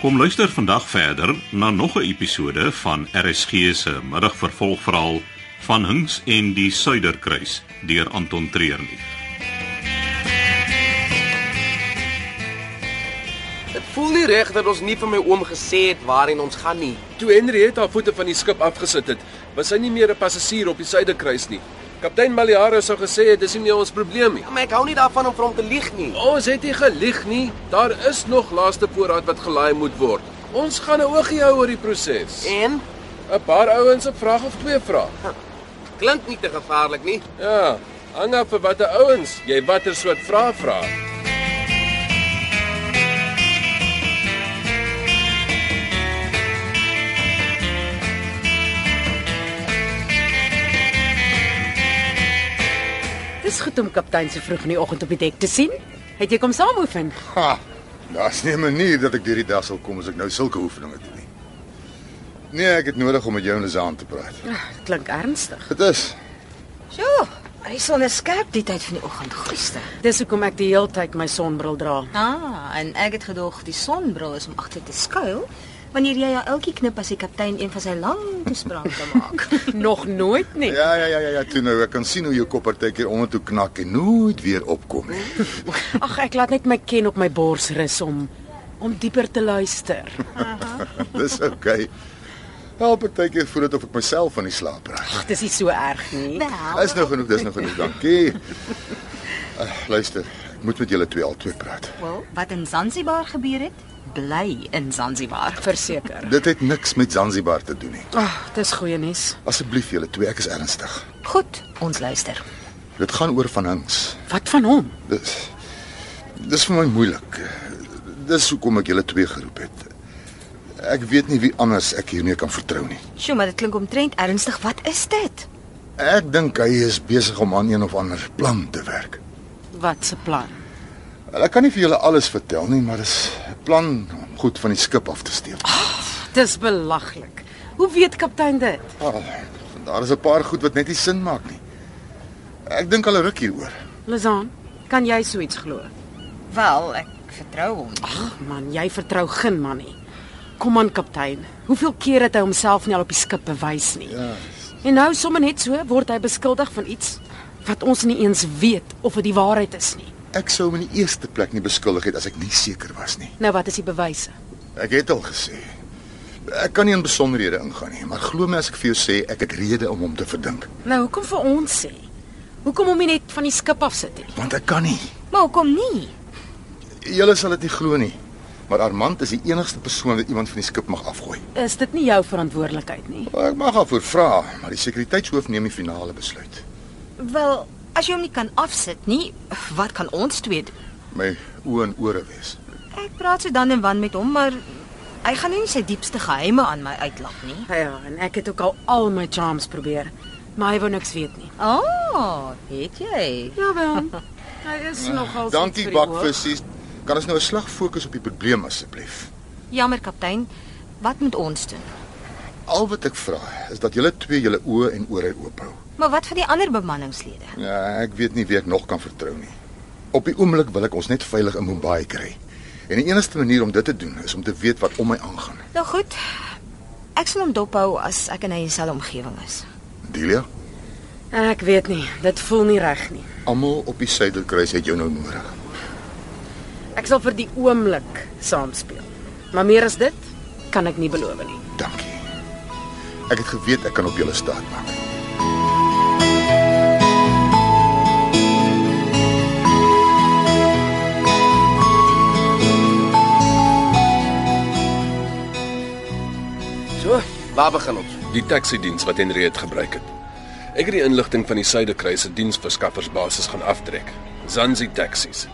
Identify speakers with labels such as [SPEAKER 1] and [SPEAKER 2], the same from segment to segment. [SPEAKER 1] Kom luister vandag verder na nog 'n episode van RSG se middagvervolgverhaal van Hinks en die Suiderkruis deur Anton Treurnig.
[SPEAKER 2] Dit voel nie reg dat ons nie vir my oom gesê het waarheen ons gaan nie.
[SPEAKER 3] Toe Henrietta haar voete van die skip afgesit het, was sy nie meer 'n passasier op die suiderkruis nie. Kaptein Maliaro sou gesê het dis nie meer ons probleem nie.
[SPEAKER 2] Ja, maar ek hou nie daarvan om vir hom te lieg nie.
[SPEAKER 3] Ons het nie gelieg nie. Daar is nog laaste voorraad wat gelaai moet word. Ons gaan 'n oogie hou oor die proses.
[SPEAKER 2] En
[SPEAKER 3] 'n Paar ouens 'n vraag of twee vra.
[SPEAKER 2] klink nie te gevaarlik nie.
[SPEAKER 3] Ja, hang af vir watter ouens jy watter soort vrae vra.
[SPEAKER 4] Dis goed om kaptein se vroeg in die oggend op die dek te sien. Het jy kom saamoefen?
[SPEAKER 5] Ha, daar's nie 'n manier dat ek deur die dag sal kom as ek nou sulke oefeninge doen nie. Nee, ek het nodig om met jou en Lisaan te praat.
[SPEAKER 4] Ah, Klink ernstig.
[SPEAKER 5] Dit is
[SPEAKER 6] Jo, hy son is skerp die tyd van die oggend, gister.
[SPEAKER 4] Dis hoekom ek die heeltyd my sonbril dra.
[SPEAKER 6] Ah, en ek het gedoog die sonbril is om agter te skuil wanneer jy jou elkie knip as die kaptein een van sy lang toesprake maak.
[SPEAKER 4] Nog nooit nie.
[SPEAKER 5] ja ja ja ja ja, toe nou ek kan sien hoe jou kop partykeer onder toe knak en nooit weer opkom nie.
[SPEAKER 4] Ag, ek laat net my ken op my bors rus om om dieper te luister.
[SPEAKER 5] Dis oukei. Help partykeer voel dit of ek myself van die slaap raak.
[SPEAKER 4] Ag, dis nie so erg nie.
[SPEAKER 6] Wel,
[SPEAKER 5] Is nou genoeg, dis nou genoeg. Dankie. Uh, luister, ek moet met julle twee al twee praat.
[SPEAKER 6] wel, wat in Zanzibar gebeur het, bly in Zanzibar.
[SPEAKER 4] Verseker.
[SPEAKER 5] Dit het niks met Zanzibar te doen nie.
[SPEAKER 4] Ag, Ah, dis goeie nuus.
[SPEAKER 5] Asseblief julle twee, ek is ernstig.
[SPEAKER 6] Goed, ons luister.
[SPEAKER 5] Dit gaan oor van Hinks.
[SPEAKER 4] Wat van hom?
[SPEAKER 5] Dis Dis vir my moeilik. Dis hoekom ek julle twee geroep het. Ek weet nie wie anders ek hiermee kan vertrou nie.
[SPEAKER 6] Sjoe, maar dit klink omtrent ernstig. Wat is dit?
[SPEAKER 5] Ek dink hy is besig om aan een of ander plan te werk.
[SPEAKER 4] Wat se plan?
[SPEAKER 5] Wel, Ek kan nie vir julle alles vertel nie, maar dis 'n plan om goed van die skip af te steek.
[SPEAKER 4] Dis belaglik. Hoe weet kaptein dit?
[SPEAKER 5] Ah, daar is 'n paar goed wat net nie sin maak nie. Ek dink al 'n ruk hieroor.
[SPEAKER 4] Lizaan, kan jy so iets glo?
[SPEAKER 6] Wel, ek vertrou hom. Ag,
[SPEAKER 4] Ag man, jy vertrou geen man nie. Kom aan kaptein. Hoeveel keer het hy homself nie al op die skip bewys nie?
[SPEAKER 5] Ja.
[SPEAKER 4] En nou sommer net so word hy beskuldig van iets wat ons nie eens weet of dit die waarheid is nie.
[SPEAKER 5] Ek sou hom in die eerste plek nie beskuldig het as ek nie seker was nie.
[SPEAKER 4] Nou wat is die bewyse?
[SPEAKER 5] Ek het al gesê. Ek kan nie in besonderhede ingaan nie, maar glo my as ek vir jou sê ek het rede om hom te verdink,
[SPEAKER 4] Nou hoekom vir ons sê? Hoekom hom nie net van die skip af sit nie?
[SPEAKER 5] want ek kan nie.
[SPEAKER 6] maar hoekom nie?
[SPEAKER 5] Julle sal dit nie glo nie, maar Armand is die enigste persoon wat iemand van die skip mag afgooi.
[SPEAKER 4] Is dit nie jou verantwoordelikheid nie?
[SPEAKER 5] Ek mag daarvoor vra, maar die sekuriteitshoof neem die finale besluit.
[SPEAKER 6] Wel, as jy hom nie kan afsit nie, wat kan ons twee doen?
[SPEAKER 5] My oë en ore wees.
[SPEAKER 6] Ek praat so dan en wan met hom, maar hy gaan nie sy diepste geheime aan my uitlak nie.
[SPEAKER 4] Ja, en ek het ook al al my charms probeer, maar hy wou niks weet nie.
[SPEAKER 6] Ah, oh, weet jy?
[SPEAKER 4] Jawel. Hy is nogal
[SPEAKER 5] Dankie bakvissies. Kan ons nou 'n slag fokus op die probleem asseblief?
[SPEAKER 6] Jammer kaptein, wat moet ons doen?
[SPEAKER 5] Al wat ek vra is dat julle twee julle oë en ore oop hou.
[SPEAKER 6] Maar wat van die ander bemanningslede?
[SPEAKER 5] Ja, ek weet nie wie ek nog kan vertrou nie. Op die oomblik wil ek ons net veilig in Mumbai kry. En die enigste manier om dit te doen is om te weet wat om my aangaan.
[SPEAKER 6] Nou goed. Ek sal hom dophou as ek in hy selfe omgewing is.
[SPEAKER 5] Delia,
[SPEAKER 4] Ek weet nie, dit voel nie reg nie.
[SPEAKER 5] almal op die Suiderkruis het jou nou nodig.
[SPEAKER 4] Ek sal vir die oomblik saam speel. Maar meer as dit kan ek nie beloof nie.
[SPEAKER 5] Dankie. Ek het geweet ek kan op julle staat maak.
[SPEAKER 2] So, waar begin ons?
[SPEAKER 3] Die taksiediens wat Henriette gebruik het. Ek het die inligting van die Suiderkruis se diensverskaffersbasis gaan aftrek. Zanzi Taxis.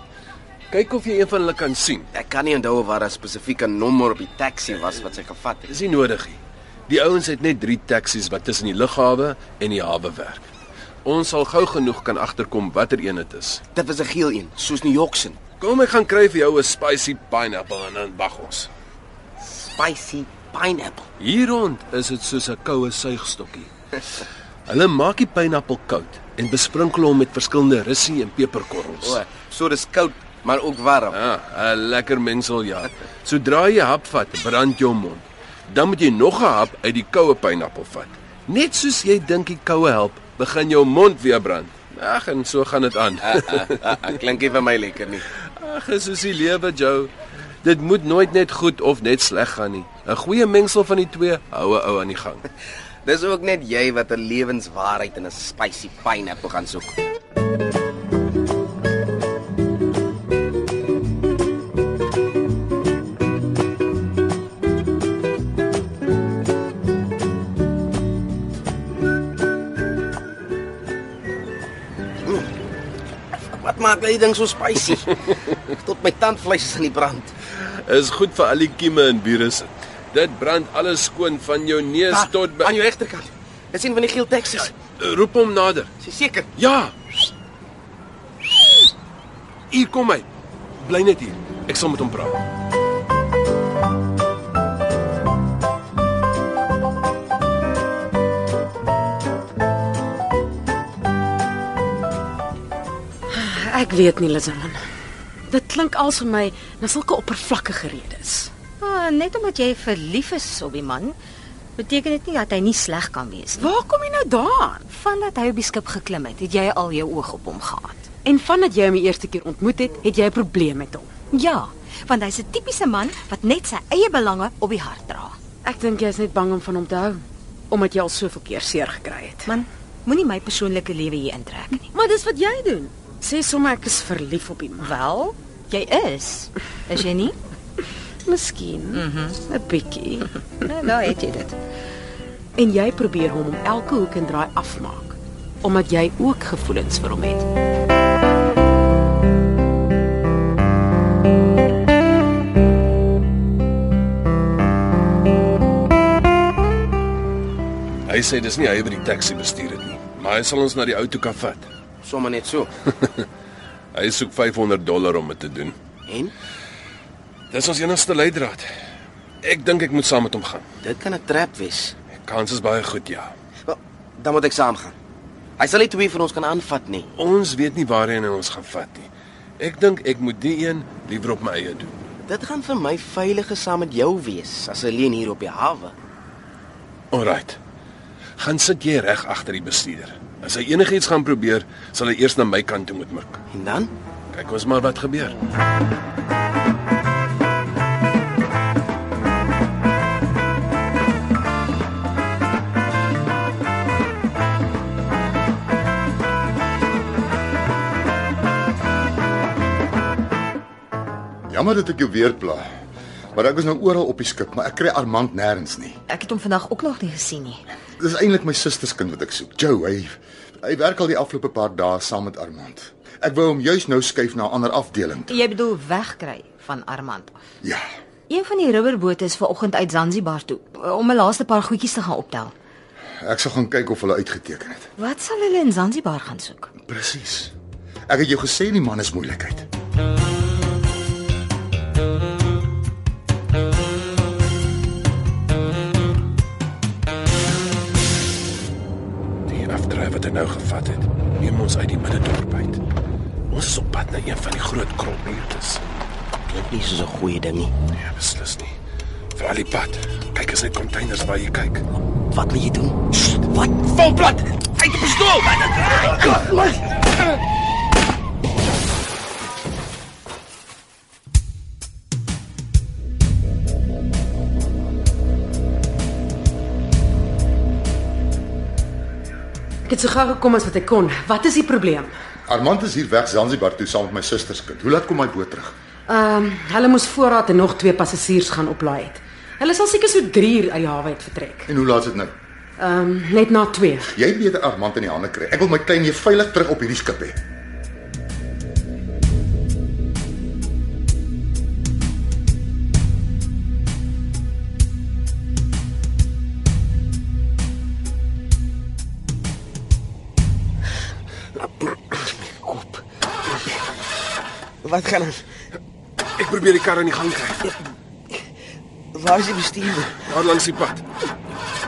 [SPEAKER 3] Kyk of jy een van hulle kan sien.
[SPEAKER 2] Ek kan nie onthou waar 'n spesifieke nommer op die taxi was wat sy gevat het.
[SPEAKER 3] Dis nie nodig nie. Die ouens het net 3 taksies wat tussen die lughawe en die hawe werk. Ons sal gou genoeg kan agterkom watter een dit is.
[SPEAKER 2] Dit was 'n geel een, soos New York se.
[SPEAKER 3] Kom ek gaan kry vir jou 'n spicy pineapple en dan bag ons.
[SPEAKER 2] Spicy pineapple.
[SPEAKER 3] Hier rond is dit soos 'n koue suigstokkie. Hulle maak die pineappel koud en besprinkel hom met verskillende russie en peperkorrels.
[SPEAKER 2] O, so dis koud maar ook warm.
[SPEAKER 3] Ja, 'n lekker mengsel ja. Sodra jy 'n hap vat, brand jou mond. Dan moet jy nog 'n hap uit die koue pineappel vat. Net soos jy dink die koue help, begin jou mond weer brand. Ag, en so gaan dit aan.
[SPEAKER 2] Klink nie vir my lekker nie.
[SPEAKER 3] Ag, is soos die lewe, Joe. Dit moet nooit net goed of net sleg gaan nie. 'n Goeie mengsel van die twee hou 'n ou aan die gang.
[SPEAKER 2] Dis ook net jy wat 'n lewenswaarheid in 'n spicy pineapple gaan soek. Hm. Mm. Wat maak jy ding so spicy? Tot my tandvleis is aan die brand.
[SPEAKER 3] Is goed vir al die kieme en virusse. Dit brand alles skoon van jou neus
[SPEAKER 2] Ah,
[SPEAKER 3] tot by...
[SPEAKER 2] aan jou regterkant. Dit sien van die geel Texas.
[SPEAKER 3] roep hom nader.
[SPEAKER 2] Ja, Is jy seker?
[SPEAKER 3] Ja. Hier kom hy. Bly net hier. Ek sal met hom praat.
[SPEAKER 4] Ek weet nie, Lizaman. Dit klink als vir my na sulke oppervlakkige redes.
[SPEAKER 6] Ah, net omdat jy verlief is op die man, beteken dit nie dat hy nie sleg kan wees nie.
[SPEAKER 4] Waar kom jy nou daaraan?
[SPEAKER 6] Vandat hy op die skip geklim het, het jy al jou oog op hom gehad.
[SPEAKER 4] En vandat jy hom die eerste keer ontmoet het, het jy 'n probleem met hom.
[SPEAKER 6] Ja, want hy's 'n tipiese man wat net sy eie belange op die hart dra.
[SPEAKER 4] Ek dink jy is net bang om van hom te hou omdat jy al soveel keer seer gekry het.
[SPEAKER 6] Man, moenie my persoonlike lewe hier intrek nie.
[SPEAKER 4] Maar dis wat jy doen. Sê sommer ek is verlief op iemand.
[SPEAKER 6] Wel, jy is. Is jy nie?
[SPEAKER 4] Miskien 'n mm -hmm. bietjie.
[SPEAKER 6] Mhm. Nou, daar het jy dit.
[SPEAKER 4] En jy probeer hom om elke hoek en draai afmaak omdat jy ook gevoelens vir hom het.
[SPEAKER 3] Hy sê dis nie hy wat die taxi bestuur het nie, maar hy sal ons na die ou toe kan vat.
[SPEAKER 2] Sommige net so.
[SPEAKER 3] Hy soek 500 dollar om dit te doen.
[SPEAKER 2] En
[SPEAKER 3] Dis ons enigste leidraad. Ek dink ek moet saam met hom gaan.
[SPEAKER 2] dit kan 'n trap wees.
[SPEAKER 3] Die kans is baie goed, ja.
[SPEAKER 2] Wel, dan moet ek saamgaan. Hy sal nie twee van ons kan aanvat nie.
[SPEAKER 3] Ons weet nie waarheen hy ons gaan vat nie. Ek dink ek moet die een liewer op my eie doen.
[SPEAKER 2] Dit gaan vir my veiliger saam met jou wees as alleen hier op die hawe.
[SPEAKER 3] Alraight. Gaan sit jy reg agter die bestuurder. As hy enigiets gaan probeer, sal hy eers na my kant toe moet mik.
[SPEAKER 2] En dan?
[SPEAKER 3] Kyk ons maar wat gebeur.
[SPEAKER 5] Jammer dat ek jou weer pla. Maar ek is nou oral op die skip, maar ek kry Armand nêrens nie.
[SPEAKER 6] Ek het hom vandag ook nog nie gesien nie.
[SPEAKER 5] Dis eintlik my susterskind wat ek soek. Joe, hy hy werk al die afgelope paar dae saam met Armand. Ek wou hom juis nou skuif na 'n ander afdeling. toe.
[SPEAKER 6] Jy bedoel wegkry van Armand af.
[SPEAKER 5] Ja.
[SPEAKER 6] Een van die rubberbote is vanoggend uit Zanzibar toe om 'n laaste paar goedjies te gaan optel.
[SPEAKER 5] Ek sal gaan kyk of hulle uitgeteken het.
[SPEAKER 6] Wat sal hulle in Zanzibar gaan soek?
[SPEAKER 5] Presies. Ek het jou gesê die man is moeilikheid.
[SPEAKER 3] Die afdraai wat hy nou gevat het, neem ons uit die middedorp uit. Ons is op pad na een van die groot krolbuurtes.
[SPEAKER 2] Klink nie soos 'n goeie ding nie.
[SPEAKER 3] Nee, beslis nie. Vir al die pad. Kyk as net containers waar jy kyk.
[SPEAKER 2] Wat wil jy doen?
[SPEAKER 3] Wat? Val plat. Uit die pistool.
[SPEAKER 4] Ek het so gou gekom as wat ek kon. Wat is die probleem?
[SPEAKER 5] Armand is hier weg Zanzibar toe saam met my susterskind. Hoe laat kom hy boot terug?
[SPEAKER 4] Ehm, um, hulle moes voorraad en nog twee passasiers gaan oplaai het. Hulle sal seker so 3 uur uit die hawe uit vertrek.
[SPEAKER 5] En hoe laat is dit nou?
[SPEAKER 4] Ehm, um, net na 2.
[SPEAKER 5] Jy het beter Armand in die hande kry. Ek wil my klein jy veilig terug op hierdie skip hê.
[SPEAKER 2] Kop. Wat gaan ons?
[SPEAKER 3] Ek probeer die kar in die gang kry.
[SPEAKER 2] Waar is die bestuurder?
[SPEAKER 3] Daar langs die pad.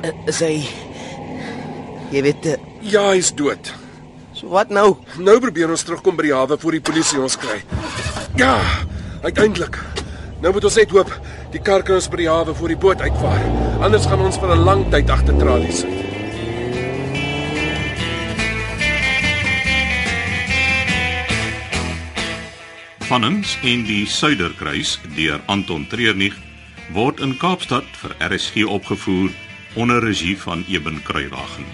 [SPEAKER 2] Eh, Is hy Jy weet, eh,
[SPEAKER 3] Ja, hy's dood.
[SPEAKER 2] so wat nou?
[SPEAKER 3] Nou probeer ons terugkom by die hawe voor die polisie ons kry. Ja, uiteindelik. Nou moet ons net hoop die kar kan ons by die hawe voor die boot uitvaar. Anders gaan ons vir 'n lang tyd agter tralies sit.
[SPEAKER 1] Van Hinks en die Suiderkruis deur Anton Treurnig word in Kaapstad vir RSG opgevoer onder regie van Eben Kruiwagen.